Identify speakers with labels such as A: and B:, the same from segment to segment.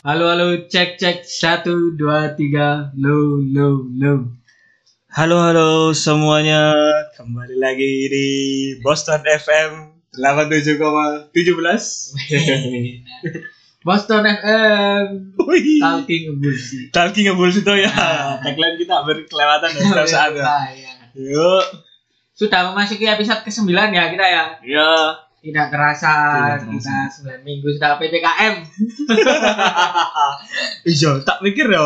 A: Halo halo cek cek satu dua tiga lo lo lo.
B: Halo halo semuanya, kembali lagi di Boston FM 87,17.
A: Boston FM
B: Wih.
A: talking bullshit.
B: Talking a bullshit oh ya.
A: Ah.
B: Tagline kita hampir kelewatan ya setiap saat. ya.
A: Ah, iya.
B: Yuk.
A: Sudah memasuki episode ke 9 ya kita ya.
B: Ya.
A: Tidak terasa
B: Tidak
A: kita 9 minggu sudah PPKM.
B: Iya, tak pikir ya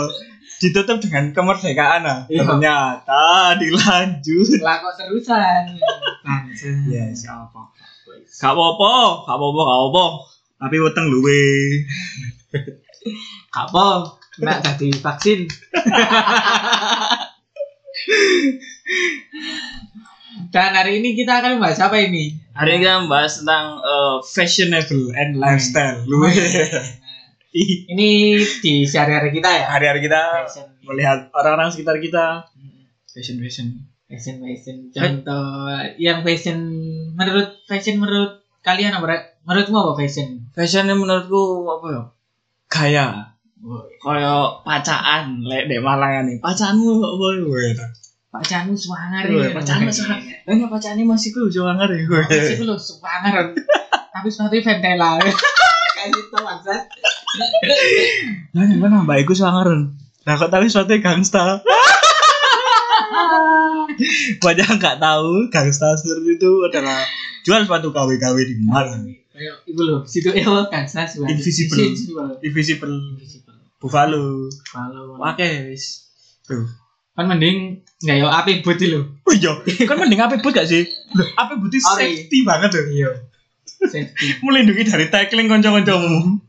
B: ditutup dengan kemerdekaan ah.
A: Iya.
B: Ternyata dilanjut.
A: Lah kok terusan. Bangsa.
B: Ya, insya
A: apa.
B: Gak apa-apa, gak apa-apa, gak apa-apa. Tapi weteng luwe.
A: Kapo nak tadi vaksin. Dan hari ini kita akan bahas apa ini?
B: Hari ini kita membahas tentang eh, fashionable and lifestyle. Luwe.
A: Ini di sehari-hari kita ya.
B: Hari-hari kita
A: Fashion,
B: melihat orang-orang sekitar kita fashion fashion
A: fashion, fashion. Contoh yang fashion menurut fashion menurut kalian apa? Ra? Menurutmu apa fashion?
B: fashionnya menurutku apa ya gaya koyo pacaan lek dek Malang nih pacaanmu kok ya, boy gue
A: Pak Canu suangar
B: Woi,
A: ya.
B: Pak Canu suangar. ini pacaannya masih ku jangan ngeri gue
A: Masih belum suangar. Tapi sepatu ventela. Kayak gitu maksud.
B: lah nih mana mbak Iku suangaran nah kok tapi suatu gangsta banyak yang nggak tahu gangsta seperti itu adalah jual sepatu KW KW di Malang
A: Kayak Ibu loh, situ ya kan saya suka.
B: Invisible.
A: Invisible.
B: invisible
A: Invisible.
B: Buffalo
A: Kalau
B: pakai wis tuh
A: kan mending nggak yo api buti lo.
B: Oh iya, kan mending apa but gak sih? Loh, apa but itu
A: Ori.
B: safety banget loh. Iya.
A: Safety.
B: Melindungi dari tackling konco-koncomu.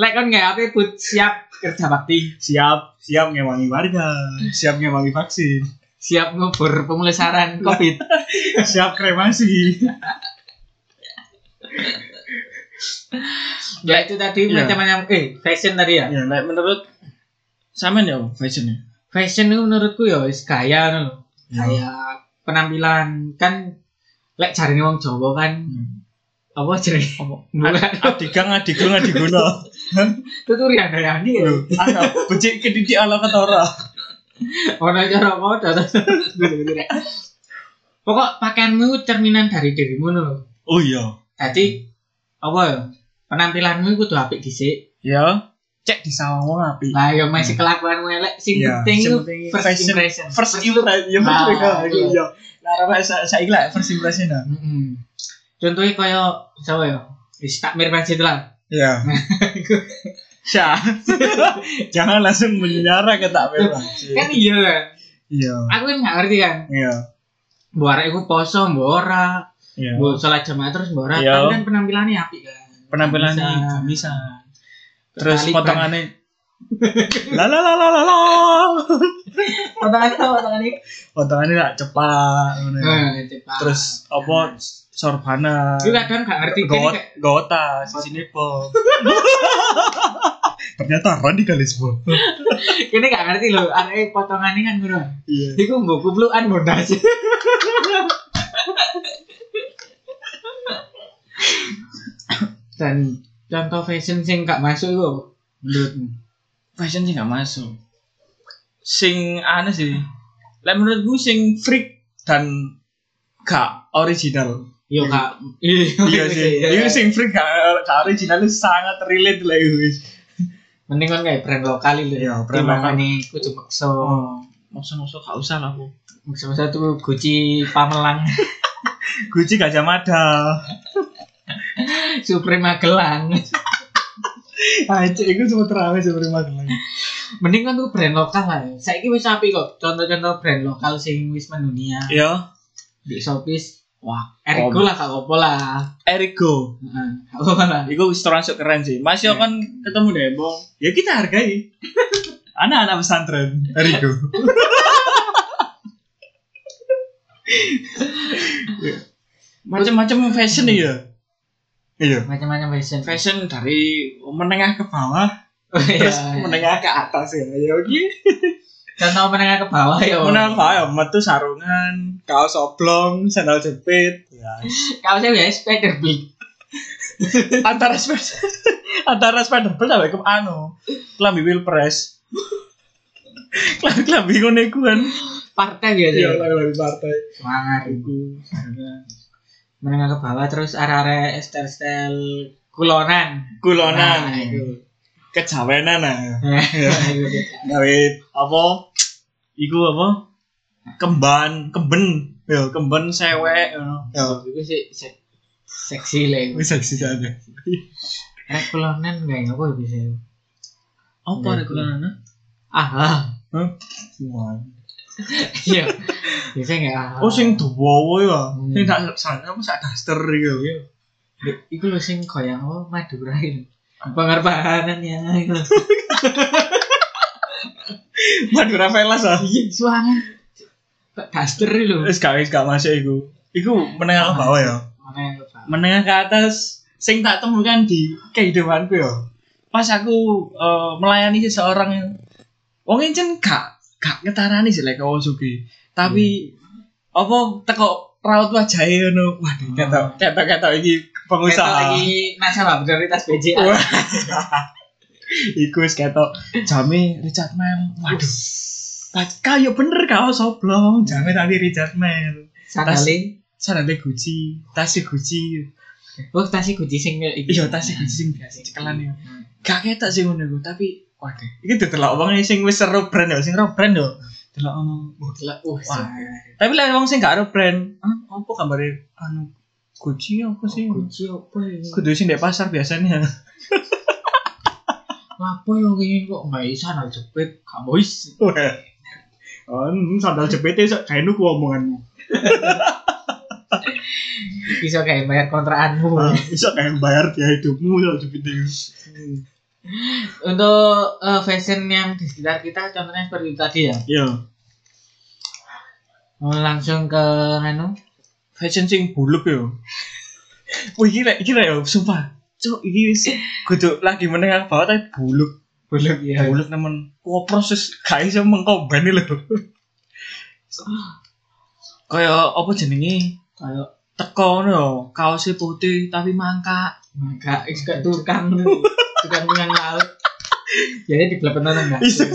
A: Lek kan nggak api but siap kerja bakti,
B: Siap, siap ngewangi warga, siap ngewangi vaksin,
A: siap ngubur pemulasaran covid.
B: siap kremasi.
A: ya itu tadi
B: Iya.
A: macam-macam. Eh fashion tadi ya.
B: ya, like, menurut sama ya fashionnya.
A: Fashion itu menurutku ya is gaya ngono lho.
B: Iya.
A: Gaya penampilan kan lek jarine wong Jawa kan apa jenenge? Bukan
B: Hmm. Adigang, adigung, adiguna.
A: tuturian dayani ya.
B: Loh, Ada becik kedidik ala ketora.
A: Ono cara modal. Pokok pakaianmu itu cerminan dari dirimu ngono lho.
B: Oh iya.
A: Jadi apa ya? Penampilanmu kudu apik dhisik.
B: Ya, cek di sawang api.
A: Lah ya masih kelakuanmu elek sing
B: Hmm. Iya,
A: penting
B: sing
A: itu
B: penting
A: first
B: fashion-
A: impression.
B: First impression, ya
A: Nah,
B: bener
A: iya.
B: Iya. Nah, apa saya saya lah first impression nah.
A: Heeh. Contohnya kaya sapa ya? Wis tak mirip situ lah.
B: Ya. Syah. Jangan langsung menyara ke tak merah.
A: kan iya kan
B: Iya.
A: aku kan nggak ngerti kan
B: Iya.
A: mbok arek iku poso mbok ora
B: Iya.
A: mbok sholat jamaah terus mbok ora
B: Iya.
A: tapi kan penampilannya apik kan Bisa.
B: Penampilannya bisa. Terus
A: Tali
B: potongannya la la la la la la.
A: potongannya apa potongannya
B: Iya. Potongannya gak cepat. ngono ya.
A: Eh, cepat
B: Terus apa sorbana.
A: Aku kadang nggak ngerti kan
B: Got,
A: kayak,
B: gota, sini po. Ternyata radikalisme.
A: kini nggak ngerti loh arek potongannya kan ngono
B: Iya.
A: iku mbok kuplukan bondas dan contoh fashion sing gak masuk iku apa? menurutmu
B: fashion sih nggak masuk sing aneh sih lah menurut gue sing freak dan gak original
A: Yo kak, iya
B: iya sih iya sing freak gak, gak original itu sangat relate lah itu wis.
A: Mending kan kayak brand lokal itu.
B: Iya, brand lokal. Hmm.
A: Ini kudu makso.
B: maksud-maksud Oh, gak usah lah aku
A: Makso-makso itu Gucci Pamelang,
B: Gucci Gajah Mada
A: Supreme Magelang.
B: Acik itu semua terawih seperti magelang
A: Mending kan tuh brand lokal lah. Saiki wis apik kok. Contoh-contoh brand lokal sing wis mendunia
B: iya
A: di Shopee. Wah, Ergo lah kak opo lah.
B: Erigo
A: Heeh. Kak opo lah.
B: itu wis termasuk keren sih Mas yo
A: Iya.
B: kan ketemu Debong ya kita hargai anak-anak pesantren Erigo macam-macam fashion iya iya
A: Macam-macam fashion. Oh,
B: fashion dari menengah ke bawah terus
A: Terus
B: Iya, menengah ke atas ya ya oke
A: Contoh menengah ke bawah ya.
B: menengah ke bawah ya, metu sarungan kaos oblong sandal jepit ya
A: Kalau saya biasa spider big.
B: antara Spider antara Spider Verse sampai ke anu kelambi Wilpres kelambi kelambi ngono iku kan
A: partai biasa
B: iya kelambi partai
A: semangat menengah ke bawah terus arah-arah estel-estel kulonan Nah,
B: kulonan
A: iku.
B: kejawenan nah
A: Nah, iku dia.
B: gawe apa iku apa kemban kemben ya kemben sewek ya
A: Iku sih se- seksi lah iku.
B: wis seksi aja
A: Arek kulonan gak apa ya bisa iku.
B: apa
A: Ya,
B: regularnya
A: ah ah.
B: Hah?
A: iya bisa nggak ah, ah.
B: Oh sing duwowo ya.
A: Hmm.
B: Sing sak sana apa sak daster iku.
A: iku lho sing koyang oh Madura itu pengorbanan ya iku lho.
B: Madura Velas ah.
A: suangan Pak Daster lho
B: Wis gak wis gak masuk iku. Iku menengah ke bawah ya.
A: mana yang lupa
B: Menengah ke atas sing tak temukan di kehidupanku ya. Pas aku eh, melayani seseorang yang wong encen gak gak ngetarani sih lek wong sugih. Tapi apa teko raut wajahnya ngono. Waduh,
A: Hmm.
B: ketok ketok ketok iki
A: Kita
B: pengusaha.
A: lagi nasabah prioritas BJA
B: Wah. Iku wis ketok jame Richard Mel. Waduh. Pat kaya bener kau soblong, jame tadi Richard Mel.
A: sandali
B: Sarane Gucci, tas Gucci.
A: oh tasi kunci sing iki
B: Iya, tas Gucci sing biasa cekelan ya.
A: Hmm.
B: Gak ketok sih ngono iku, tapi waduh, iki didelok wong sing wis seru brand ya, sing ro brand yo. Delok ono.
A: Gila, uh,
B: Wah.
A: sih.
B: Tapi lek wong sing gak ro brand, ah opo gambare anu Oh, Gucci apa sih?
A: kunci apa ya
B: Kudu sing ndek pasar ya. biasanya.
A: apa yang ya ini kok nggak bisa nol jepit kamu is
B: Wah. On Oh, hmm, sandal jepit e sok kayak nuku omonganmu.
A: bisa kayak bayar kontraanmu
B: Bisa kayak bayar biaya hidupmu ya, sandal jepit itu.
A: untuk eh, fashion yang di sekitar kita contohnya seperti itu tadi ya
B: Iya.
A: Mau langsung ke anu
B: Fashion sing buluk yo. Wih gila, gila ya, sumpah. Cuk, ini wis kudu lagi menengah ke bawah tapi buluk.
A: belum
B: Buluk nemen. Kok proses gak iso mengkombani lho. Kaya apa jenenge?
A: kayak
B: Teko ngono yo, kaosnya putih tapi mangka.
A: maka itu kayak tukang tukang minyak laut jadi di belakang orang nggak
B: Iya.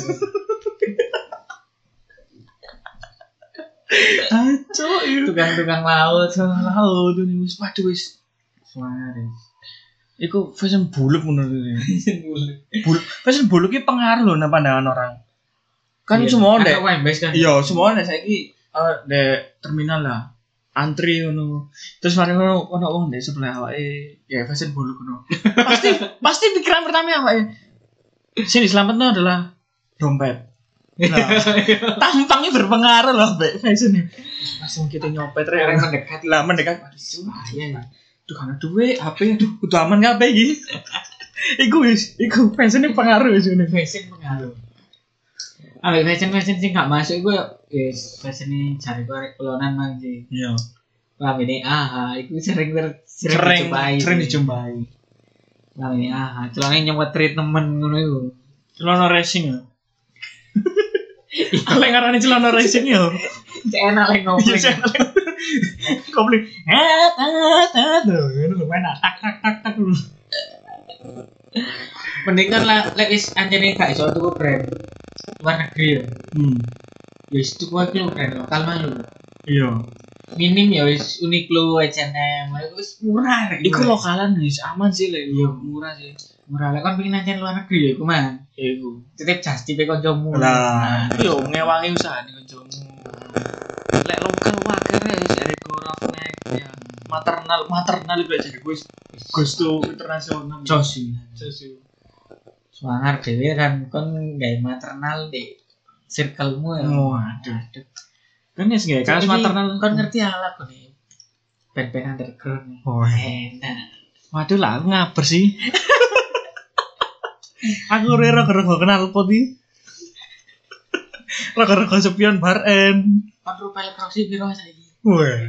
B: Aco, itu
A: tukang tukang laut
B: laut ini wis waduh wis.
A: suaranya
B: Iku fashion buluk menurut ini. Buluk, fashion buluk ini pengaruh loh nang pandangan orang. Kan semua ndek
A: ada wembes kan
B: Iya, semua nek saiki eh di terminal lah. Antri ngono. Terus mari ngono ono wong ndek sebelah awake, ya fashion bulu ngono. pasti pasti pikiran pertama awake. Sini selamatno adalah dompet. Nah, tampangnya berpengaruh loh, Mbak. Fashion ini. Langsung kita nyopet
A: Orang
B: rek.
A: mendekati
B: Lah mendekat
A: bahaya ya.
B: tuh karena duit, HP aduh kudu aman kabeh iki. Iku wis, iku fashionnya pengaruh wis ngene.
A: fashion pengaruh ambil fashion fashion sih nggak masuk gue yes fashion ini cari gue arek kulonan mang sih
B: Iya.
A: lah ini ah itu sering ber
B: Sering
A: dijumpai
B: sering
A: sih.
B: dijumpai.
A: lah ini ah celana nyemot treatment ngono itu
B: celana racing ya Ale ngarani celana racing ya.
A: Cek enak lah
B: Iya,
A: ngomong
B: saya ale- Kau beli eh eh eh tuh, itu lumayan tak tak tak tak.
A: mendingan lah lek wis anjene gak iso tuku brand luar negeri ya
B: Hmm,
A: ya wis tuku ae lho brand lokal mah lho
B: iya.
A: minim ya wis Uniqlo H&M itu wis murah rek
B: Iku lokalan guys, aman sih le.
A: Iya.
B: murah sih.
A: murah lek kon pengen anjen luar negeri ya iku mah
B: Iku.
A: titip jas tipe Nah, kancamu
B: Lah, Nah, yo ngewangi usahane kancamu. Hmm. Lek lokal waker ya wis ada Gorovnek ya. Maternal maternal iku jadi gue gusto internasional.
A: jos sih
B: Jos, yo.
A: suangar dhewe kan kon gawe maternal di circlemu ya
B: Waduh. Kan ya sih,
A: Jadi,
B: kan Oh, maternal
A: kon ngerti alat kon iki band-band underground ya.
B: Oh,
A: enak
B: Waduh lah, aku ngaber sih. aku rera rego kenal poti. Rego rego sepion bar en.
A: kon rupane proksi piro saiki
B: Wah.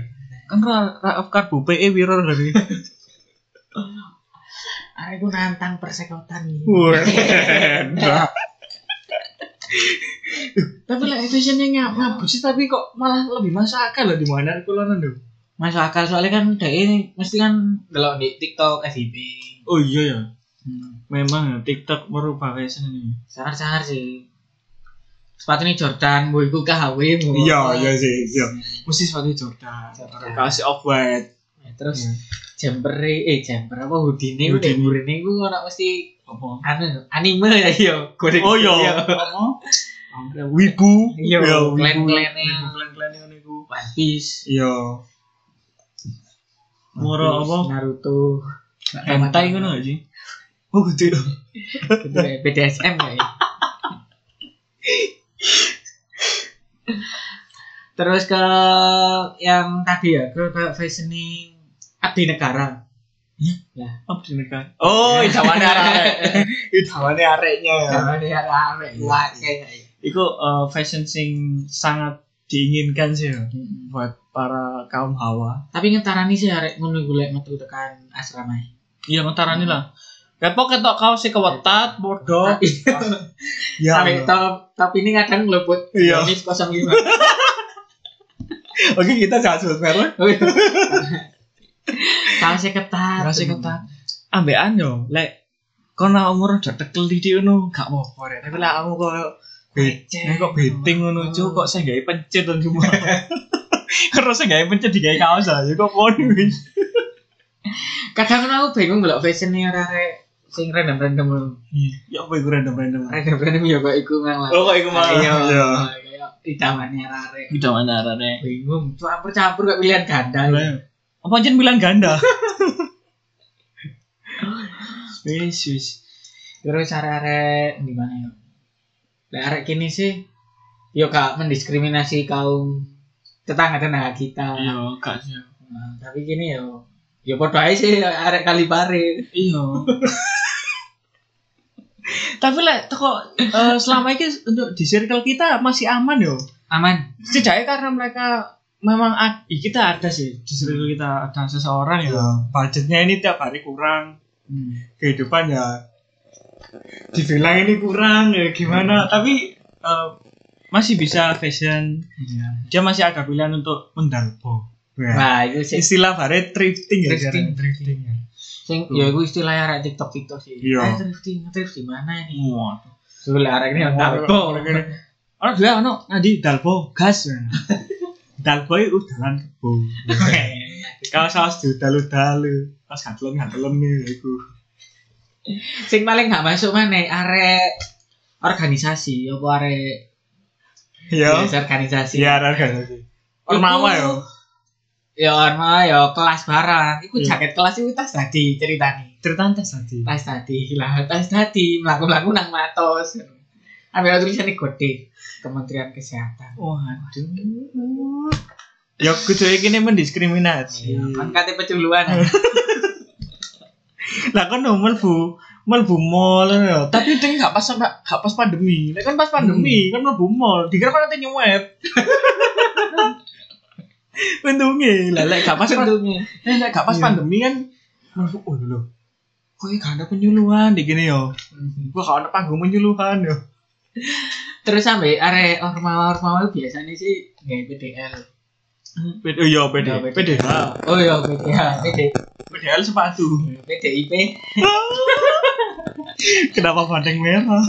B: Kan ra ra of karbu E PE wiro dari.
A: Aku nantang persekotan ini.
B: Wah. enak.
A: Tapi lah efisiennya nggak
B: Ngaber sih tapi kok malah lebih masuk akal loh di mana aku lono lho.
A: masuk akal soalnya kan dai mesti kan delok di TikTok FYP.
B: Oh iya ya.
A: Hmm.
B: Memang ya TikTok merubah fashion ini.
A: Sangar-sangar sih. Sepatu ini Jordan, bu iku KHW, bu.
B: sih. Iya. Mesti sepatu Jordan.
A: Jordan.
B: Kasih off white.
A: Nah, Terus
B: Hmm.
A: jumper eh jumper apa hoodie ini
B: Hoodie.
A: hoodie ini gue nggak mesti anu anime ya yo goreng
B: Oh iya. Apa? Wibu.
A: Iya,
B: wibu.
A: klan-klannya.
B: Wibu, Klan-klannya ini ku.
A: One Piece
B: Iya. Moro
A: One Piece,
B: apa?
A: Naruto
B: Hentai kan gak sih? Oh gitu.
A: Gitu ya, BDSM ya terus ke yang tadi ya ke, ke fashioning abdi negara
B: Apa di negara? Oh, idawane arek. Idawane areknya ya.
A: Sama dia rame,
B: Iya.
A: wah, kayak-
B: Iku eh, fashion sing sangat diinginkan sih ya. buat para kaum hawa.
A: tapi ngetarani sih arek ngono iku lek metu tekan asrama e.
B: Iya, ngetarani lah. Kepo ketok kaos sih kewetat, bodoh.
A: Tapi-
B: iya.
A: Sampai
B: Allah.
A: top top ini kadang ngelebut
B: Ya, Iya.
A: bonus 05.
B: Oke, kita jangan sebut merek.
A: Oh, iya. Kaosnya ketat.
B: Rasane ketat. Ambekan yo, lek kon nak umur udah tekel di di ngono, gak apa-apa rek. Tapi lek aku koyo
A: Becek.
B: Nek kok beting ngono cuk, kok saya gawe pencet to cuma. Terus saya gawe pencet digawe kaos lah, ya kok pon wis.
A: Kadang kan aku bingung belok fashionnya rare sing random random
B: Ya apa iku random-random.
A: random random ya kok iku mang lah.
B: Oh, kok iku malah.
A: Iya.
B: Iya.
A: Kayak idamannya rare.
B: Udah mana arane?
A: Bingung. Campur campur gak pilihan ganda.
B: Iya.
A: ya.
B: Apa aja bilang ganda? Wis wis.
A: Terus rare di mana ya? Lah arek kini sih yo gak mendiskriminasi kaum tetangga-tetangga kita.
B: Iya, gak sih.
A: Nah, tapi gini yo yo podo ae sih arek kali pare.
B: Iya. Tapi lah, toko eh, selama ini untuk di circle kita masih aman yo.
A: Aman.
B: Setidaknya karena mereka memang ad- ih, kita ada sih di circle kita ada seseorang ya. Budgetnya ini tiap hari kurang,
A: Hmm.
B: kehidupan ya dibilang ini kurang ya gimana.
A: Hmm.
B: Tapi eh, masih bisa fashion. Dia masih ada pilihan untuk mendalpo. Ya.
A: Nah, itu sih
B: Istilah bare thrifting ya.
A: Thrifting.
B: jarang. thrifting ya.
A: sing ya iku istilahnya arek TikTok TikTok sih.
B: Iya.
A: Ah, thrifting, thrifting mana ini?
B: Waduh.
A: Sudah arek ini
B: Dalbo.
A: tahu.
B: Ya, Ono dhewe ono nadi Dalbo gas. Dalbo itu udalan kebo. Kalau saus diudal-udal, pas gatelem gatelem ya iku.
A: Sing paling gak masuk mana arek organisasi apa arek
B: Ya.
A: yes, organisasi.
B: Ya ora kan. Ormawa yo.
A: Ya orma ya kelas barang. Iku
B: Iya.
A: jaket kelas iku tas tadi ceritane.
B: Ceritane tes tadi.
A: Tas tadi lah, tas tadi mlaku-mlaku nang matos. Ambil tulisannya gede Kementerian Kesehatan.
B: Waduh. Ya kudu iki nih mendiskriminasi.
A: Iya, kan kate peculuan.
B: Lah kan no mlebu mlebu mall ngono yo. Tapi ding gak pas gak pas pandemi. Lah kan pas
A: Hmm.
B: pandemi kan mlebu mall, dikira kan nanti nyuwet. Untungnya, lah lek gak pas pandemi.
A: Untungnya.
B: Eh, nek gak pas
A: Iya.
B: pandemi kan masuk oh lho. Kok ini gak ada penyuluhan di gini yo. Gua gak ada panggung penyuluhan ya? yo.
A: Terus sampai arek ormawa-ormawa biasanya sih nggak PDL.
B: Beda yo beda.
A: Iya,
B: Beda.
A: Oh iya PDL, PD,
B: Bedal sepatu.
A: PDIP.
B: Kenapa bandeng merah?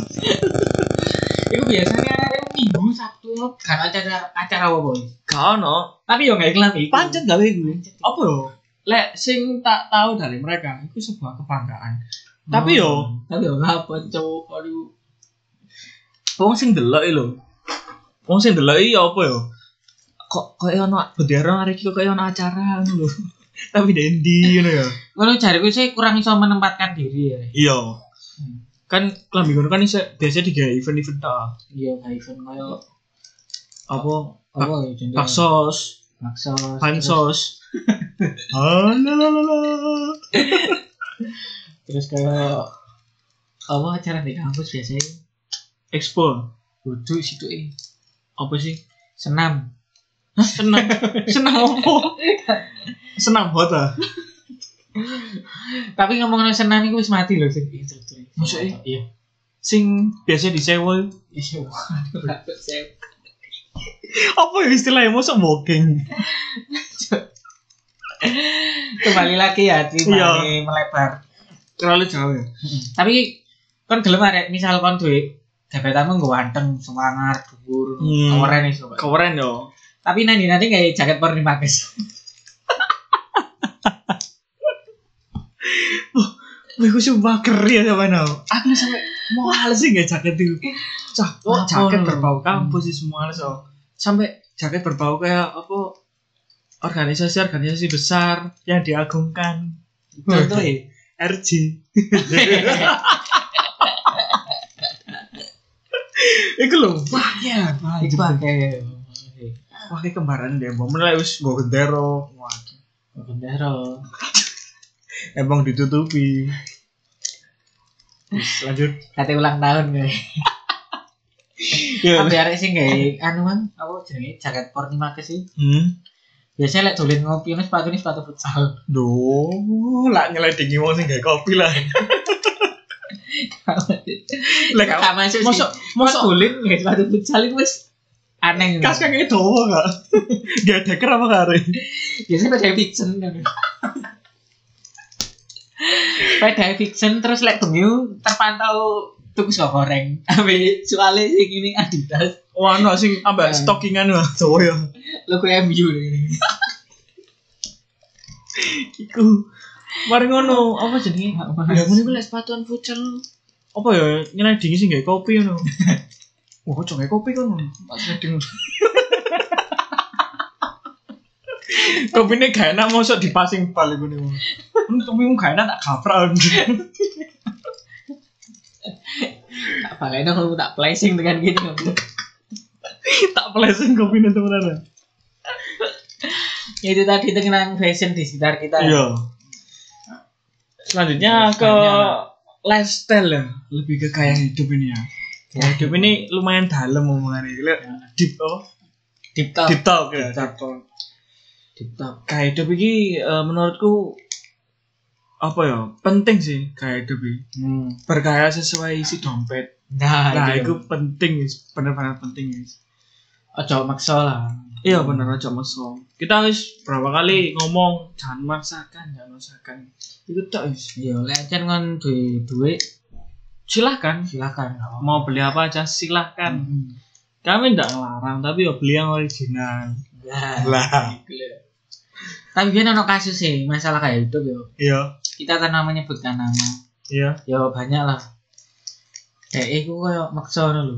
A: Itu biasanya arek minggu Sabtu kan acara acara apa boy?
B: Gak ono.
A: Tapi yo nggak iklan iku.
B: Pancet gawe gue. Apa yo? Lek sing tak tahu dari mereka itu sebuah kebanggaan. Hmm. Tapi yo
A: Oh, tapi yo apa cowok aduh.
B: wong sing delok iki lho. Wong sing delok iki ya apa yo? Kok koyo ono bendera arek iki kok koyo ono acara ngono lho. Tapi dendi ngono ya.
A: Kalau jariku sih kurang iso menempatkan diri ya.
B: Iya. Kan klambi ngono kan isih- biasanya digawe event-event ta.
A: Iya kayak event kayak
B: Apa
A: apa ya jenenge?
B: baksos, Ah,
A: Bakso.
B: pansos. Alalala.
A: Terus kayak apa acara di kampus biasanya?
B: Expo.
A: Duduk situ eh
B: Apa sih?
A: senam.
B: Hah, senam. senam apa? senam hota.
A: Tapi ngomongin senam itu wis mati loh sing instruktur.
B: Maksudnya?
A: Iya.
B: Sing biasa disewa.
A: Iya. waduh, gak percaya.
B: Apa ya istilahnya? Mosok booking.
A: Kembali lagi ya hati
B: Iya.
A: mari melebar.
B: terlalu jauh ya
A: Tapi kan gelem arek misal kon duwe gebetanmu nggo anteng semangat dhuwur
B: Hmm.
A: keren iso. Pak.
B: keren yo
A: Tapi nanti nanti kayak jaket Polri Mages.
B: Wih, aku sumpah keri ya sama no. Aku sampai mau sih gak jaket itu. Cah,
A: Oh,
B: wah, jaket
A: apa?
B: berbau kampus sih semua hal so. Sampai jaket berbau kayak apa? Organisasi organisasi besar yang diagungkan. Contoh ya, RJ. Iku lho, wah ya, wah,
A: Iku
B: jebak.
A: akeh.
B: wah kayak kembaran deh. Mau mulai wis bawa gendero. Wah,
A: Bendera.
B: emang ditutupi. Terus lanjut.
A: Kate ulang tahun kayak.
B: Iya.
A: Tapi arek sing kayak anu kan apa jenenge jaket Polri Mages sih.
B: Hmm.
A: Biasanya lek dolen ngopi ini sepatu ini sepatu futsal.
B: Duh, lah ngeledengi wong sing gawe kopi lah. Lah
A: Gak masuk sih.
B: Mosok
A: Mosok dolen nggak sepatu futsal itu wis aneh.
B: kas kakek dowo gak? Gak ada kenapa kare.
A: biasanya pada fiction kan pada fiction terus lek bengi terpantau tuku sego goreng ambil soalnya sing ini Adidas
B: Wah, no sing ambek
A: Eh.
B: stockingan lah dowo Hmm. ya.
A: logo MU ini.
B: Iku. Mari ngono, apa jenenge? Ya ngono iku lek sepatuan futsal apa ya ngeledengi sing gawe kopi ngono. Wah, ojo gawe kopi kan. Pak sedeng. Kopine gak enak mosok dipasing balik ngene. Mun kopimu gak enak tak gapral.
A: tak baleno kalau tak placing dengan gitu
B: tak plesin kopi nanti mana
A: ya itu tadi tentang fashion di sekitar kita
B: Iya. selanjutnya ke
A: Banyak.
B: lifestyle ya lebih ke gaya hidup ini ya
A: Gaya
B: hidup ini lumayan dalam omongannya Gila, deep oh
A: deep talk
B: deep talk ya
A: Deep talk. deep talk
B: gaya hidup ini eh, menurutku apa ya penting sih gaya hidup ini
A: hmm.
B: bergaya sesuai isi dompet
A: nah,
B: nah
A: itu
B: itu penting guys bener bener penting guys
A: ojo maksa lah
B: Iya bener aja maksa. Kita wis berapa kali ngomong jangan maksakan, jangan maksakan. Itu tok wis.
A: iya lek jan kon duwe duit
B: Silahkan
A: silakan nggak apa-apa.
B: mau beli apa aja silahkan
A: Hmm.
B: kami tidak ngelarang tapi ya beli yang original
A: Ya.
B: lah
A: Tapi biar ono kasus sih masalah kayak hidup yo.
B: iya
A: Kita tanpa menyebutkan nama.
B: iya
A: Yo banyak lah. Dek iku koyo maksa ngono lho.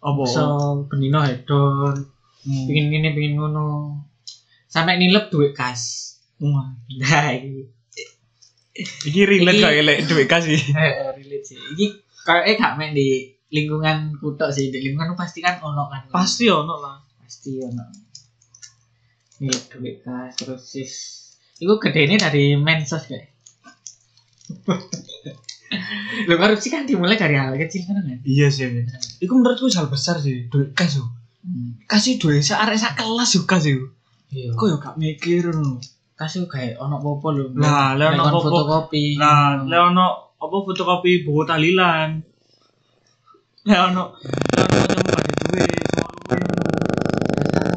B: apa
A: Maksa benino hedon,
B: Hmm.
A: pengin ngene pengin ngono. Sampai nilep duit kas.
B: Wah.
A: Nah, iki
B: iki relate
A: Iki-
B: gak elek duit kasih
A: Eh, relate sih. Iki kayak eh, gak main di lingkungan kutok sih, di lingkungan pasti kan ono kan.
B: pasti ono lah
A: pasti ono nilai duit kas terus sis itu gede ini dari mensos kayak lo korupsi kan dimulai dari hal kecil kan kan
B: iya sih iya. itu menurutku hal besar sih duit kas yo
A: Hmm.
B: kasih duit sak arek sak kelas yo kas yo
A: iya
B: kok yo gak mikir no
A: kasih kayak ono popo lo
B: Nah, lah ono popo.
A: fotokopi Hmm.
B: nah leono apa fotokopi buku talilan leono leono ketemu gak ada duit sama lu.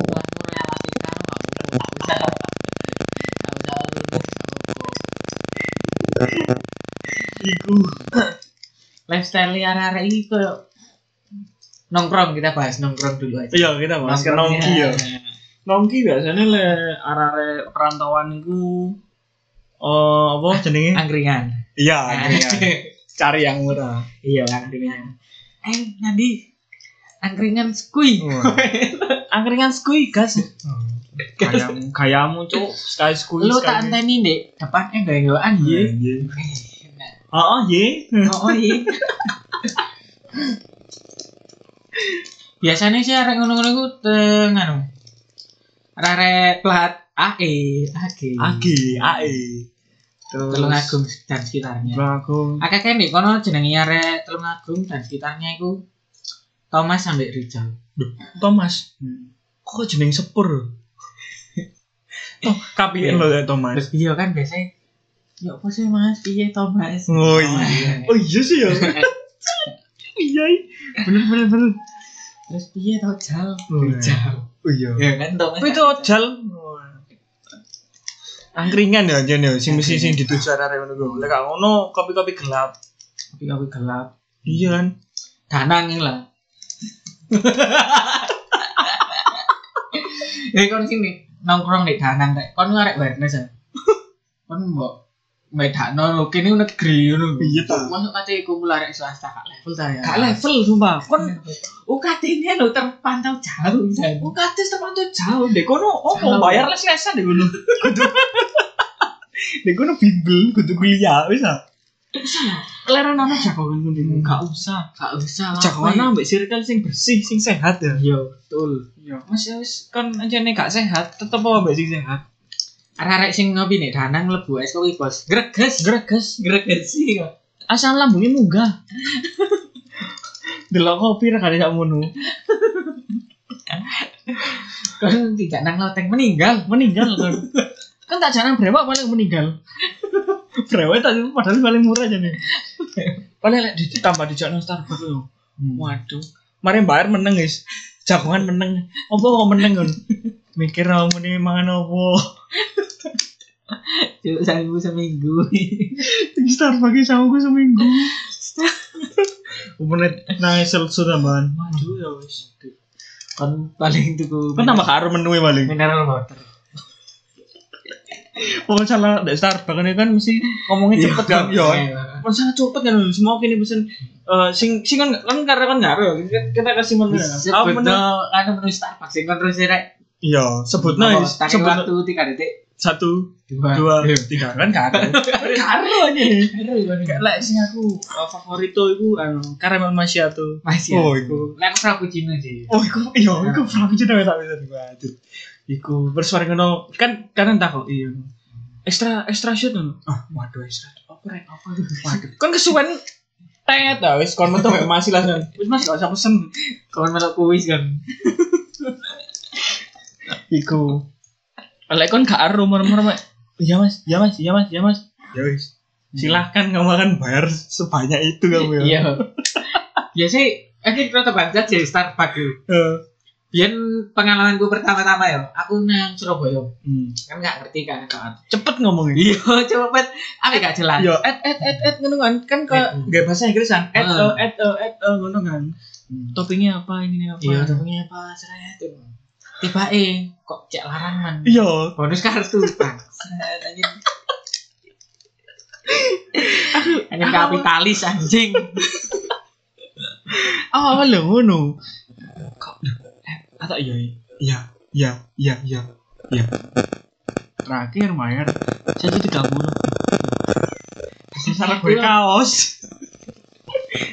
B: iku
A: lifestyle arah-arah ini kayak nongkrong kita bahas nongkrong dulu aja
B: iya kita bahas ke nongki ya Nongki biasanya le arah-arah perantauan itu eh apa jenenge?
A: angkringan
B: Iya,
A: Nah.
B: Cari yang murah.
A: Iya angkringan. Eh nanti angkringan skui.
B: Angkringan skui gas. Hmm.
A: Gas.
B: Kayamu, kayamu cuk, sekali skui.
A: Lu tak anteni dek depan eh gak gawaan
B: Iya,
A: ya.
B: iya. Oh, iya.
A: Oh iya. Biasanya sih arek ngono-ngono iku teng anu. Arek plat AE, AG.
B: Agi, AE. Terus
A: Telung Agung dan sekitarnya.
B: Tulung Agung.
A: Akeh nih kono jenenge arek Telung Agung dan sekitarnya iku Thomas sampai Rizal.
B: Duh, Thomas. Kok jeneng sepur? Oh, Toh, kapiin lo ya Thomas.
A: Terus iya kan biasanya Ya apa sih mas? Iya Thomas.
B: Oh iya. Oh iya sih ya. Iya. iya. Bener bener bener.
A: Terus piye to jal?
B: Oh, iya.
A: Jal.
B: Oh iya.
A: Ya kan to.
B: Tapi itu ojal. angkringan ya jen ya sing mesti sing dituju arek ngono kuwi. Lek gak ngono kopi-kopi gelap.
A: Kopi-kopi gelap.
B: Iya kan.
A: Danang ini lah. Ya kon sini nongkrong di Danang rek. Kon ngarek awareness ya. Kon mbok medakno kene negeri ngono.
B: Iya ta.
A: Masuk kate iku mulai rek swasta gak level ta ya.
B: Gak level sumpah. Kon
A: Iya. UKT ini lo terpantau jauh kan.
B: UKT terpantau jauh deh. Kono
A: Jauh.
B: opo bayar les-lesan deh kono. Kudu. Dek kono bimbel kudu kuliah wis ah.
A: Leren ana jagoan ngono
B: Hmm.
A: Gak usah, gak usah.
B: Jagoan ambek circle sing bersih, sing sehat ya.
A: Yo, betul.
B: Iya, Mas ya wis kon anjene gak sehat, tetep wae mbek sing sehat.
A: Arek-arek sing ngopi nih Danang mlebu es kopi bos. Greges,
B: Greges,
A: greges iya. sih kok.
B: asam lambungnya munggah. Delok kopi regane sak mono.
A: Kon tidak nang loteng meninggal.
B: meninggal kan kan tak jarang brewok paling meninggal brewok tak padahal paling murah aja nih paling lek di tambah di jalan Starbucks yo waduh mari bayar meneng guys jagongan meneng apa kok meneng kan mikir kamu nih mangan apa
A: Cuk sambu seminggu.
B: Di Starbucks sama gue seminggu Umurnya nangis selesai tambahan
A: Waduh ya wis. Kon paling tuku
B: Kan tambah karo menu ya paling
A: mineral water.
B: Kalau salah di Starbucks ini kan mesti ngomongnya cepet kan Yo. Masa cepet kan semua kini pesen eh, sing sing kan kan karena kan ngaruh ya, kita, kita kasih menu ya. Ah, menu.
A: Sebutno anu menu Starbucks sing kon terus rek.
B: Iya, sebutno ya,
A: Tapi
B: sebut
A: waktu 3 detik.
B: satu,
A: Dua.
B: dua, tiga kan gak ada. Karo aja.
A: Dua.
B: Lek sing aku eh, favorito iku anu caramel macchiato.
A: Masih. Oh,
B: Oh, iku.
A: iku. Lek frappuccino sih.
B: Oh, iku iya, iku frappuccino ya tak bisa dibuat. Iku bersuara ngono kan kan entah kok iya. Ekstra ekstra shot ngono. Ah, waduh ekstra.
A: Apa rek apa tuh? Waduh.
B: Kan kesuwen tet tau wis kon metu gak masih lah. Wis Mas gak usah pesen.
A: Kon melok kuis kan.
B: Iku. Lek kon gak aru merem-merem. Iya Mas, iya Mas, iya Mas, iya Mas. Ya wis. Silahkan kamu akan bayar sebanyak itu kamu ya.
A: Iya. Ya sih, aku tetap aja jadi Starbucks dulu.
B: Eh,
A: Biar pengalamanku pertama-tama ya, aku nang Surabaya
B: hmm.
A: kan nggak ngerti kan kan.
B: Cepet ngomongnya.
A: Iya, cepet. Aku gak jelas.
B: Yo, et et et et ngono kan kan ke
A: Hmm.
B: gak bahasa Inggrisan. Et
A: Hmm.
B: oh, et oh, et oh, ngono kan. Toppingnya apa ini apa?
A: Iya, temennya apa seret. Tiba eh kok cek larangan.
B: Iya.
A: Bonus kartu bang. Anjing. Anjing
B: aku-
A: kapitalis anjing.
B: Awal Ah, lho ngono. Kok atau iya iya iya iya iya. Iya. Terakhir bayar satu tiga puluh. Secara gue kaos.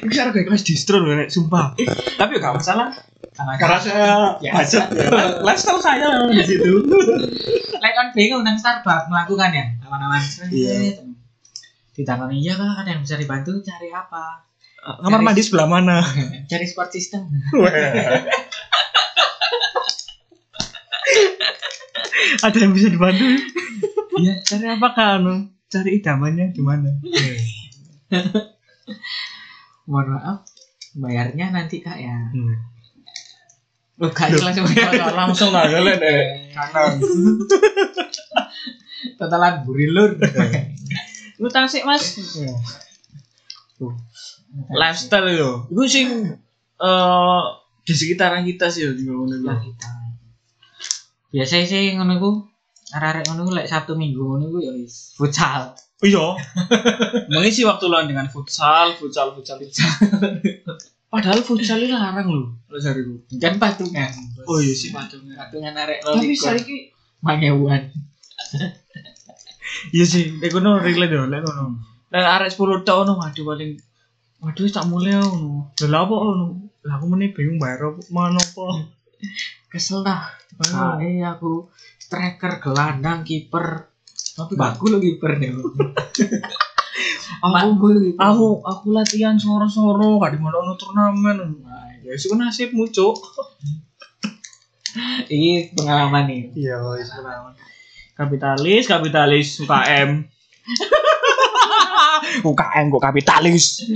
B: Ini secara gue kaos distro loh, Nek, sumpah. Tapi gak masalah.
A: Sama
B: Karena saya
A: Ya.
B: budget ya. Lifestyle saya memang di situ.
A: Lek kon bingung nang Starbucks melakukan ya, awan-awan.
B: Iya.
A: Ditakoni iya kak, ada yang bisa dibantu cari apa?
B: Kamar mandi sebelah mana?
A: Cari support system.
B: Ada yang bisa dibantu? ya, cari apa kan? Cari idamannya di mana?
A: Mohon maaf, bayarnya nanti kak ya.
B: Hmm.
A: Lu gak jelas bayar.
B: Langsung lah kalian eh kanan.
A: Totalan burilur.
B: Lu tangsik mas. Tuh. Lifestyle yo. Itu sih eh di sekitaran kita sih yo.
A: Lah Nah, kita. Biasanya sih ngono iku arek-arek ngono iku lek Sabtu Minggu ngono iku ya wis futsal.
B: Iya. Mengisi waktu luang dengan futsal, futsal, futsal, futsal. Padahal futsal itu larang loh. Lo cari gue.
A: Kan patungan.
B: Oh, iya sih,
A: patungan. Patungan arek
B: Tapi
A: lolikur.
B: saiki
A: mangewuan.
B: Iya sih, lek kono relate yo, lek kono. Lek arek 10 tok ono waduh paling waduh tak mulai ono. Lah apa ono? Lah aku meneh bingung bayar apa mana apa.
A: Kesel dah.
B: Ah.
A: Kae aku striker gelandang kiper.
B: Tapi
A: Baku lu kipernya.
B: aku
A: Aku gitu.
B: aku aku latihan sore-sore gak di mana ono turnamen. Nah, ya itu nasibmu, Cuk.
A: Ini pengalaman nih.
B: Iya, wis Kapitalis, kapitalis UKM. UKM kok kapitalis.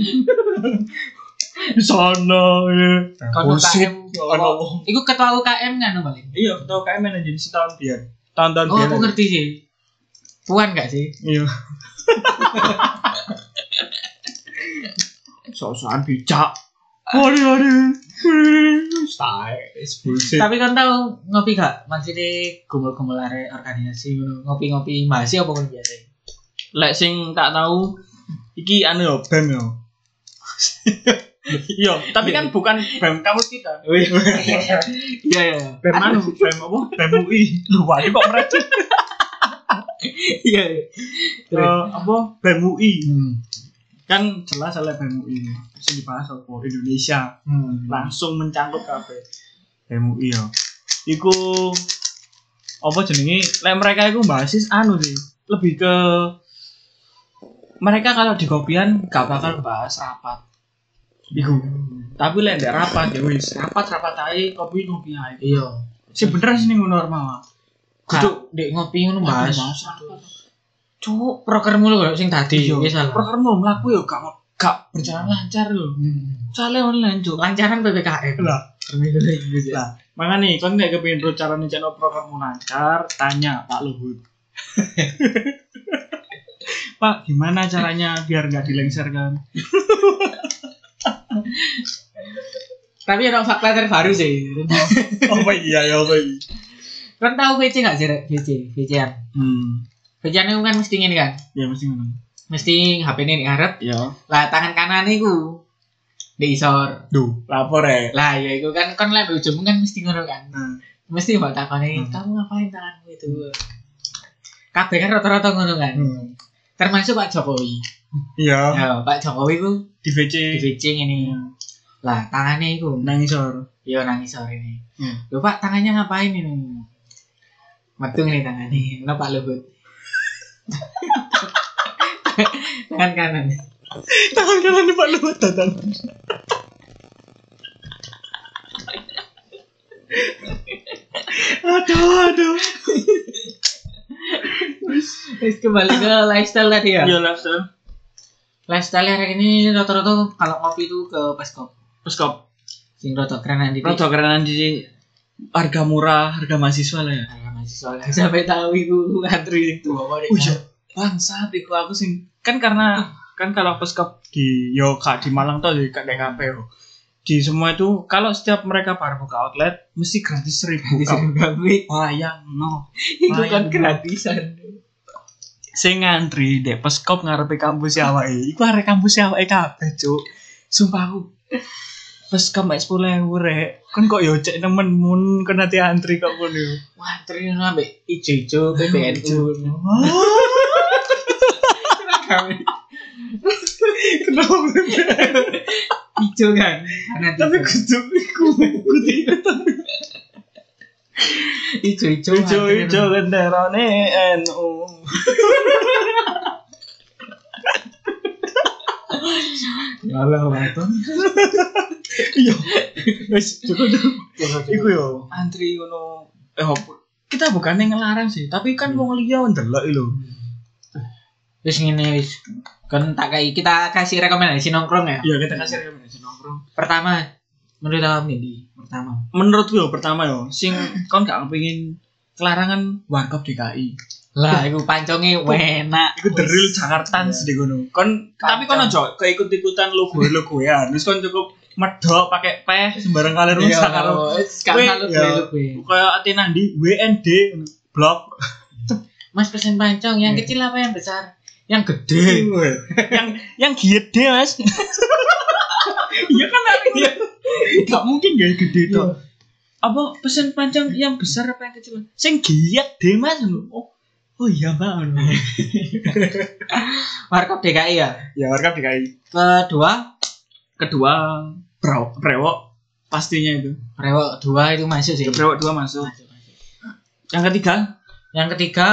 B: di sana ya.
A: Kalau
B: Bullshit.
A: UKM, Iku ketua UKM kan paling.
B: Iya, ketua UKM manajer setahun biar. Tahun-tahun
A: Oh,
B: biar
A: aku
B: aja.
A: ngerti sih. puan gak sih
B: Iya. Sok-sokan bijak. Waduh, waduh. Style is bullshit.
A: tapi kan tau ngopi gak maksudnya gomel-gomel arek organisasi ngono. ngopi-ngopi masih apa kan biasa
B: Lek sing tak tahu iki anu yo BEM yo. Yo, tapi kan bukan BEM kampus kita. Iya, iya. BEM anu, BEM apa? BEM UI. Lu wae kok merecet.
A: iya iya.
B: Eh,
A: terus
B: apa? BEM UI.
A: hmm.
B: Kan jelas oleh BEM UI. Sing dibahas apa? Indonesia.
A: Hmm.
B: langsung mencangkup kabeh MUI ya iku apa jenenge lek mereka iku basis anu sih lebih ke mereka kalau di kopian gak bakal bahas rapat iku tapi lek ndek rapat ya wis rapat rapat ae kopi kopi ae
A: iya
B: sih bener sih ngono normal Kudu
A: Kudu dek ngopi ngono
B: bahas
A: mas.
B: rapat cuk
A: Proker mulu kok sing tadi
B: iya
A: wis salah.
B: perkermu mlaku yo gak gak berjalan lancar lho
A: Hmm.
B: soalnya online cuk
A: Lancaran PPKM.
B: lah gitu
A: Terminal Inggris
B: Lah, Mangga nih, kon nek kepengin ro carane cano programmu lancar, tanya Pak Luhut. Pak, gimana caranya biar nggak kan? dilengserkan?
A: Tapi ada fakta terbaru sih.
B: Oh iya ya, apa ini?
A: Kan tahu VC enggak sih, Rek? VC, VCan.
B: Hmm,
A: VCan itu kan mesti ngene kan.
B: ya mesti ngono.
A: Mesti HP-ne ning ngarep,
B: Ya.
A: lah tangan kanan iku di isor.
B: Duh, lapor ya.
A: Lah ya iku kan kon lek di ujung kan mesti ngono kan.
B: Nah,
A: Mesti mbak takoni,
B: Hmm.
A: "Kamu ngapain tanganmu itu?" Kabeh kan rata-rata ngono kan.
B: Hmm.
A: Termasuk Pak Jokowi.
B: Iya,
A: Ya, Pak Jokowi ku di
B: di VC.
A: VC ini.
B: Hmm.
A: Lah tangannya iku
B: Nangisor.
A: Iya nangis sore ini.
B: Hmm.
A: Loh pak tangannya ngapain ini? Metu nih tangannya. Lo pak Luhut. Tangan kanan.
B: Tangan kanan Pak Luhut datang. aduh, aduh.
A: Terus kembali ke lifestyle tadi ya.
B: Iya, lapor.
A: Lifestyle hari ini rata-rata kalau ngopi itu ke Peskop.
B: Peskop.
A: Sing rotok kerenan di
B: Rodo kerenan di harga murah, harga mahasiswa lah ya.
A: Alah, mahasiswa lah. Sampai tahu ibu antri itu apa deh.
B: Wih, bangsa iku aku sing kan karena kan kalau peskap di yo Kak, di Malang tuh di DKP yo. Di semua itu kalau setiap mereka baru buka outlet mesti gratis seribu
A: Bisa
B: Kak.
A: ngapain?
B: Wayang no.
A: Itu kan
B: Bayang.
A: gratisan.
B: Sing ngantri dek peskop ngarepe kampus ya awake. Iku arek kampus ya awake kabeh, Cuk. Sumpah aku. Peskap mek 10.000 rek. Kan kok yo cek nemen mun kan nanti antri kok ngono.
A: Wah, antri ini ambek ijo-ijo PBNU. Kami
B: Kenapa
A: ijo kan. Nanti
B: Tapi kudu iku kudu ikut.
A: ijo-ijo.
B: Ijo-ijo benderane NU.
A: Ya Allah, waton.
B: Iya. Wis cukup dah. Iku
A: Iku
B: yo antri ngono. Eh apa- kita bukannya ngelarang sih, tapi kan wong liya ndelok lho.
A: wis ngene wis. Kan tak kai kita kasih rekomendasi nongkrong ya.
B: Iya, kita kasih rekomendasi nongkrong.
A: Pertama menurut awak ini pertama.
B: Menurutku yo pertama yo, sing kon gak kepengin kelarangan warkop DKI.
A: Lah, iku panconge enak.
B: Iku the real Jakarta
A: Iya.
B: sih ngono. Kon tapi kon aja keikut-ikutan logo-logo ya. Terus kon cukup medok pakai peh sembarang kali
A: Iya,
B: rusak karo
A: wis gak
B: Wih,
A: salut
B: iya.
A: gue, lu, gue.
B: kayak ati nandi WND blok
A: Mas pesen pancong
B: Iya.
A: yang kecil apa yang besar? Yang gede.
B: yang yang giet deh mas iya kan nanti gak mungkin gak gede itu
A: Iya.
B: apa pesan panjang yang besar apa yang kecil sing giet deh mas oh oh iya mbak
A: Warkop DKI ya.
B: ya warga DKI
A: Kedua,
B: kedua brewok brewok pastinya itu
A: rewok dua itu masuk sih.
B: brewok dua masuk
A: Masuk, masuk.
B: yang ketiga
A: Yang ketiga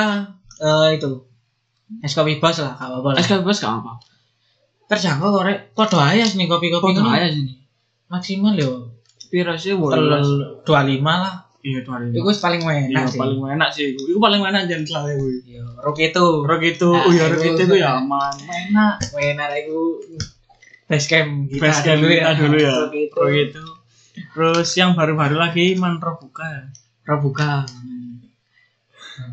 A: eh, itu es kopi bos lah, gak apa-apa lah.
B: SK bos gak apa
A: Terjangkau kok rek. Podo ae sini kopi-kopi
B: Podo
A: ngono.
B: aja sini
A: Maksimal
B: Oh,
A: yo
B: iya. pirasnya
A: telur 25 lah.
B: iya tuh
A: Iku wis paling
B: iya
A: enak sih.
B: paling enak sih itu paling enak jangan selalu gue
A: Yo, rok itu,
B: Rock itu,
A: Nah,
B: oh ya
A: itu.
B: Rock itu tuh ya aman.
A: enak. Enak iku base camp kita
B: Best game kita dulu ya.
A: Rock itu.
B: Rock itu. Terus yang baru-baru lagi mantra buka.
A: Robuka.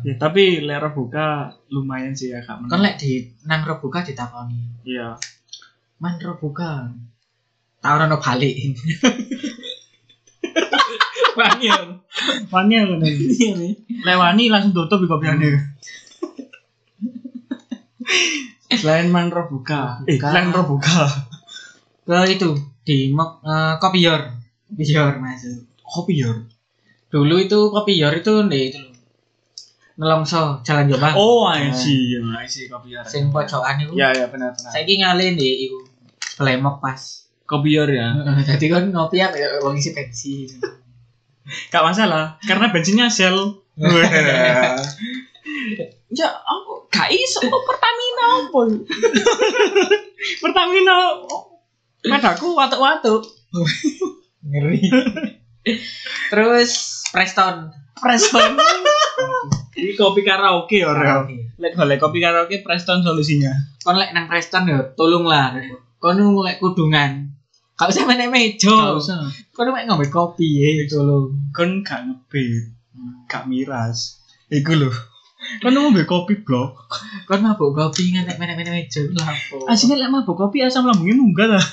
B: Ya, tapi lera buka lumayan sih ya kak.
A: Kan lek di nang rebuka ditakoni.
B: Iya.
A: Man rebuka. Tau ono balik.
B: Wangil. Wangil kan Iya nih. Lewani langsung tutup di kopi anda. Selain manro buka. Eh,
A: Buka.
B: selain manro buka.
A: Ke itu di Mok- eh, kopior. Kopior masuk.
B: Kopi ya.
A: Dulu itu kopior itu ndek itu lho. Nelongso jalan Jombang.
B: Oh, I see. Ya, I see kopi ya.
A: Sing pojokan iku.
B: Ya, ya benar benar.
A: Saiki ngale ndek iku. Blemok pas.
B: Kopi ya. ya.
A: Jadi kan ngopi ya kayak wong isi pensi.
B: Gak masalah, karena bensinnya sel. ya, aku gak iso kok Pertamina apa? Pertamina padaku watuk-watuk.
A: Ngeri. Terus Preston.
B: Preston. Ini kopi karaoke orang.
A: Karaoke.
B: Lek golek kopi karaoke Preston solusinya.
A: Kon lek nang Preston ya tolonglah. Kon nu lek kudungan. Gak usah menek
B: Gak
A: meja.
B: usah.
A: Kon mek ngombe kopi ya tolong.
B: Kon gak ngebet, gak miras. Iku lho. Kon ngombe kopi blok.
A: Kon mabuk kopi ngantek menek-menek meja lapo.
B: Asine lek mabuk kopi asam lambungnya munggah lah.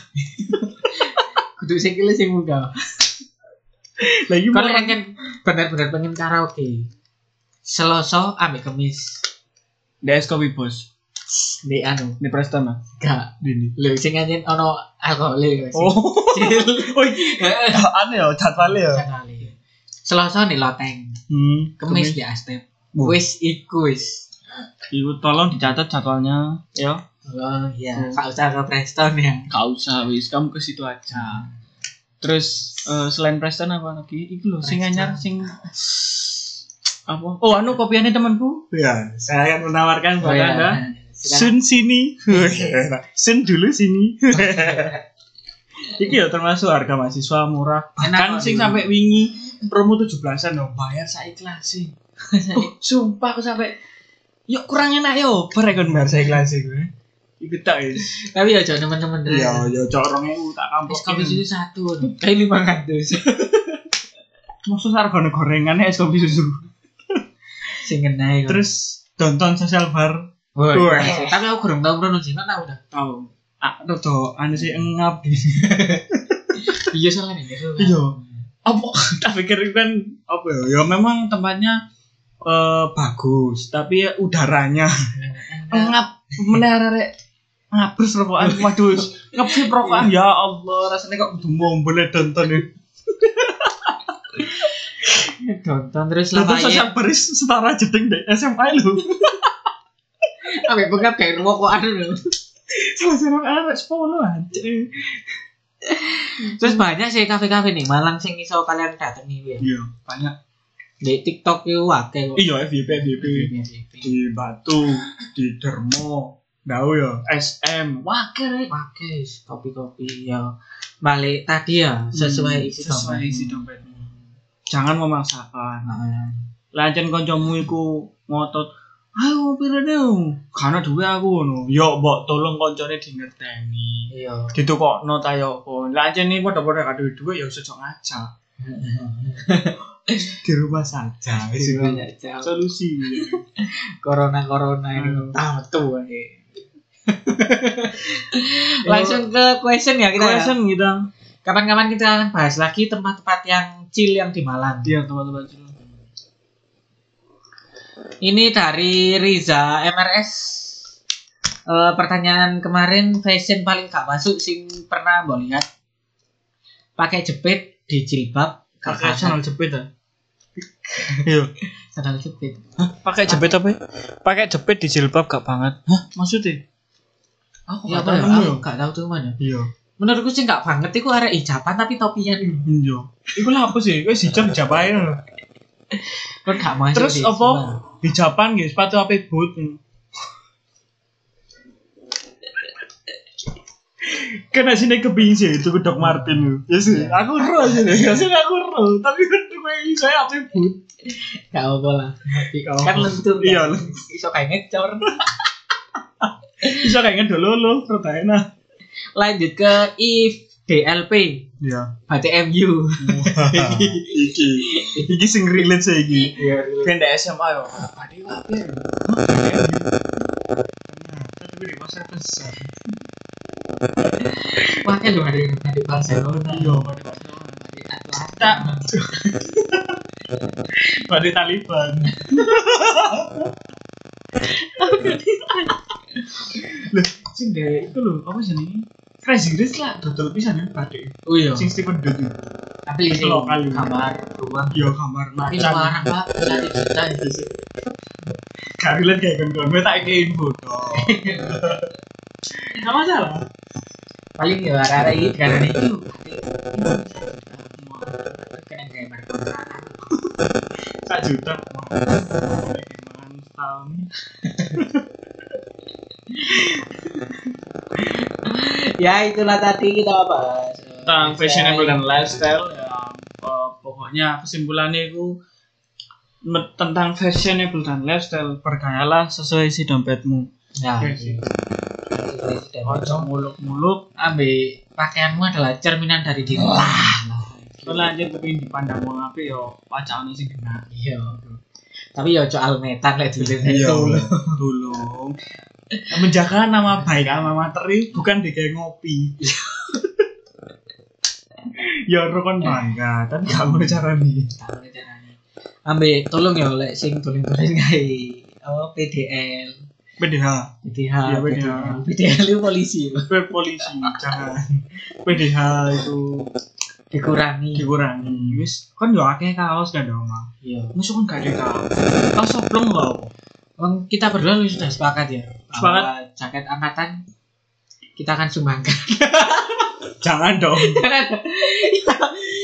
A: kudu sing kile sing munggah.
B: Lagi
A: Kon lek pengen bener-bener pengen karaoke. Selasa ambek Kamis.
B: DS kopi bos.
A: Di anu,
B: Ini Preston lah.
A: gak
B: Ini.
A: lho sing anjen ono alkohol
B: Oh. Oh, iki aneh ya jadwalnya ya.
A: Selasa di loteng,
B: Hmm,
A: Kamis di Astep.
B: Wah.
A: Wis iku wis.
B: Iku tolong dicatat jadwalnya ya.
A: Oh iya,
B: Hmm.
A: gak usah ke Preston ya.
B: Gak usah wis, kamu ke situ aja. Terus eh, selain Preston apa lagi? Iku lho sing
A: Preston.
B: anyar sing apa? Oh, anu kopiannya temanku. Ya, saya akan menawarkan
A: Oh, iya. Silakan.
B: Sun sini. Iya. Sun dulu sini. Iki ya termasuk harga mahasiswa murah. Bahkan
A: Enak kok,
B: sing
A: dulu.
B: sampai wingi promo 17-an dong bayar saikhlas sih. Oh, sumpah aku sampai yuk kurang enak yo berekon bayar saikhlas sih gue. Iku tak is.
A: Tapi ya jangan teman-teman dulu.
B: Ya yo cok 2000 tak
A: Es
B: kampus
A: kopi susu satu, kayak lima ratus.
B: Maksud sargono gorengan es kopi susu.
A: Sing kena
B: Iya.
A: iku.
B: Terus tonton sosial bar
A: Woi,
B: Woi.
A: tapi aku kurang tau bro sih, kan tau dah.
B: tau. Ah, rada anu sih engap
A: Iya soalnya nih, soalnya.
B: Iya. apa tak pikir itu kan apa ya ya memang tempatnya eh, bagus tapi ya udaranya Eh, ngap menarik ngabres rokokan waduh ngepsip rokokan ya Allah rasanya kok kudu boleh tonton ya
A: Tonton terus ya. lah
B: tonton
A: pakai.
B: sosial baris setara jeding deh SMA lu
A: Ambek bengkak kayak rumah kok ada lho.
B: sosial baris sepuluh aja
A: Terus banyak sih kafe-kafe nih Malang sing iso kalian datangi ya.
B: iya banyak
A: Di TikTok itu akeh kok.
B: iya FYP FYP di Batu di Dermo Dau ya, SM, wakil
A: Pakai kopi-kopi ya. Balik tadi ya sesuai isi
B: Hmm, sesuai
A: dompet.
B: isi dompetmu. Jangan memaksakan.
A: Heeh.
B: lancen kancamu iku ngotot ayo pira dong karena duwe aku no yo mbok tolong koncone dingerteni
A: Iya.
B: gitu kok no tayo pun lancen ini pada pada kado duwe ya sejok aja di rumah saja wis iku. solusi
A: Corona corona ini
B: Aduh.
A: Ah, tamat tuh. Langsung ke question ya kita. ya.
B: question kita
A: Kapan-kapan kita akan bahas lagi tempat-tempat yang chill yang di Malang.
B: dia Iya, teman-teman semua.
A: Ini dari Riza MRS. Eh, pertanyaan kemarin fashion paling gak masuk sing pernah mbok lihat. Pakai jepit di jilbab, gak
B: pakai
A: pakai
B: channel jepit ya iya
A: sandal jepit.
B: pakai jepit apa ya? pakai jepit di jilbab gak banget hah maksudnya aku
A: Ya
B: gak
A: apa ya?
B: tahu
A: Aku
B: ya
A: gak tahu tuh mana.
B: iya
A: Menurutku sih gak banget iku arek hijaban tapi topian.
B: iya iku lah apa sih wis hijab jabain lho
A: Kan gak masuk.
B: ya. Terus
A: sih,
B: apa?
A: sumpah.
B: Hijaban nggih, sepatu apa boot. Kena sini kepingin sih itu Doc Martin lho. Ya sih, aku ro aja deh. Kasih aku ro, tapi kan gue saya apa boot.
A: Gak apa lah. Tapi
B: Gak apa.
A: kan lentur. kan?
B: Iya, lentur.
A: Iso kayak ngecor.
B: Bisa kayak ngedol lo, pertanyaan.
A: Lanjut ke If DLP
B: Iya.
A: berarti MU
B: iki. Iki sing relate saya iki. Kan di SMA yo. Tadi apa? Tapi di pasar besar.
A: Pakai lu ada yang di Barcelona
B: Iya, pada Barcelona.
A: di Atlanta
B: Tak. Pada Taliban. Loh, sing dek itu lho, apa sih ini? Crazy Rich lah, dodol pisan ya, badai.
A: oh iya
B: Sing Stephen Dude.
A: tapi ini
B: Itu lokal ini.
A: kabar ruang
B: Yo Iya, kamar
A: ini parah pak satu juta itu sih
B: Gak relate kayak gendong, gue tak kayak info dong. Gak masalah.
A: paling ya rara ini karena itu kena gamer
B: Sak juta. Mantap.
A: ya itulah tadi kita bahas eh,
B: Tentang fashionable
A: iya.
B: dan lifestyle ya eh, pokoknya kesimpulannya itu me- tentang fashionable dan lifestyle bergayalah sesuai si dompetmu.
A: nah
B: Oke,
A: ini.
B: sih.
A: Sudah
B: Ojo
A: bocor.
B: muluk-muluk.
A: ambil pakaianmu adalah cerminan dari diri lah
B: Lanjut tapi dipandang wong ape yo pacakane ya, sing genah.
A: iya tapi ya ojo almetan lek dulu
B: Iya. tolong. Menjaga nama baik sama materi bukan digawe ngopi. ya ora kon bangga, tapi gak ngono carane.
A: Tahu caranya. Ambil tolong ya lek sing Oh, tulen-tulen kae apa PDL,
B: PDH,
A: PTH,
B: Iya, PDH.
A: PDL itu polisi Pak.
B: kowe polisi jangan. PDH itu
A: dikurangi.
B: dikurangi. Wis kon yo akeh kaos gak ada omah.
A: Iya.
B: Musuh kon gak ada kaos. Kaos soblong lho.
A: Wong kita berdua sudah sepakat ya.
B: Sepakat.
A: bahwa Jaket angkatan kita akan sumbangkan. Iya.
B: Jangan dong.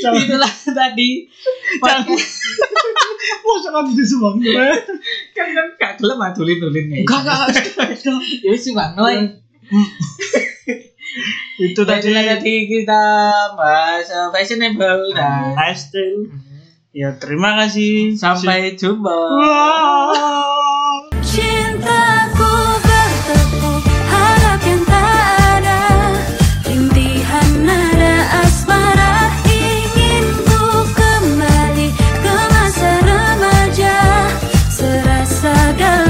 B: Jangan.
A: Itulah tadi. Podcast.
B: Masa kan itu sumbang.
A: kan kan gak gelem ah tulin-tulin kayak
B: Enggak, enggak. Iya.
A: gitu. Ya wis sumbang noy.
B: Itu
A: Itu
B: tadi
A: tadi tadi kita bahas eh, fashionable dan Mhm.
B: lifestyle. Ya terima kasih.
A: sampai jumpa.
B: Wow.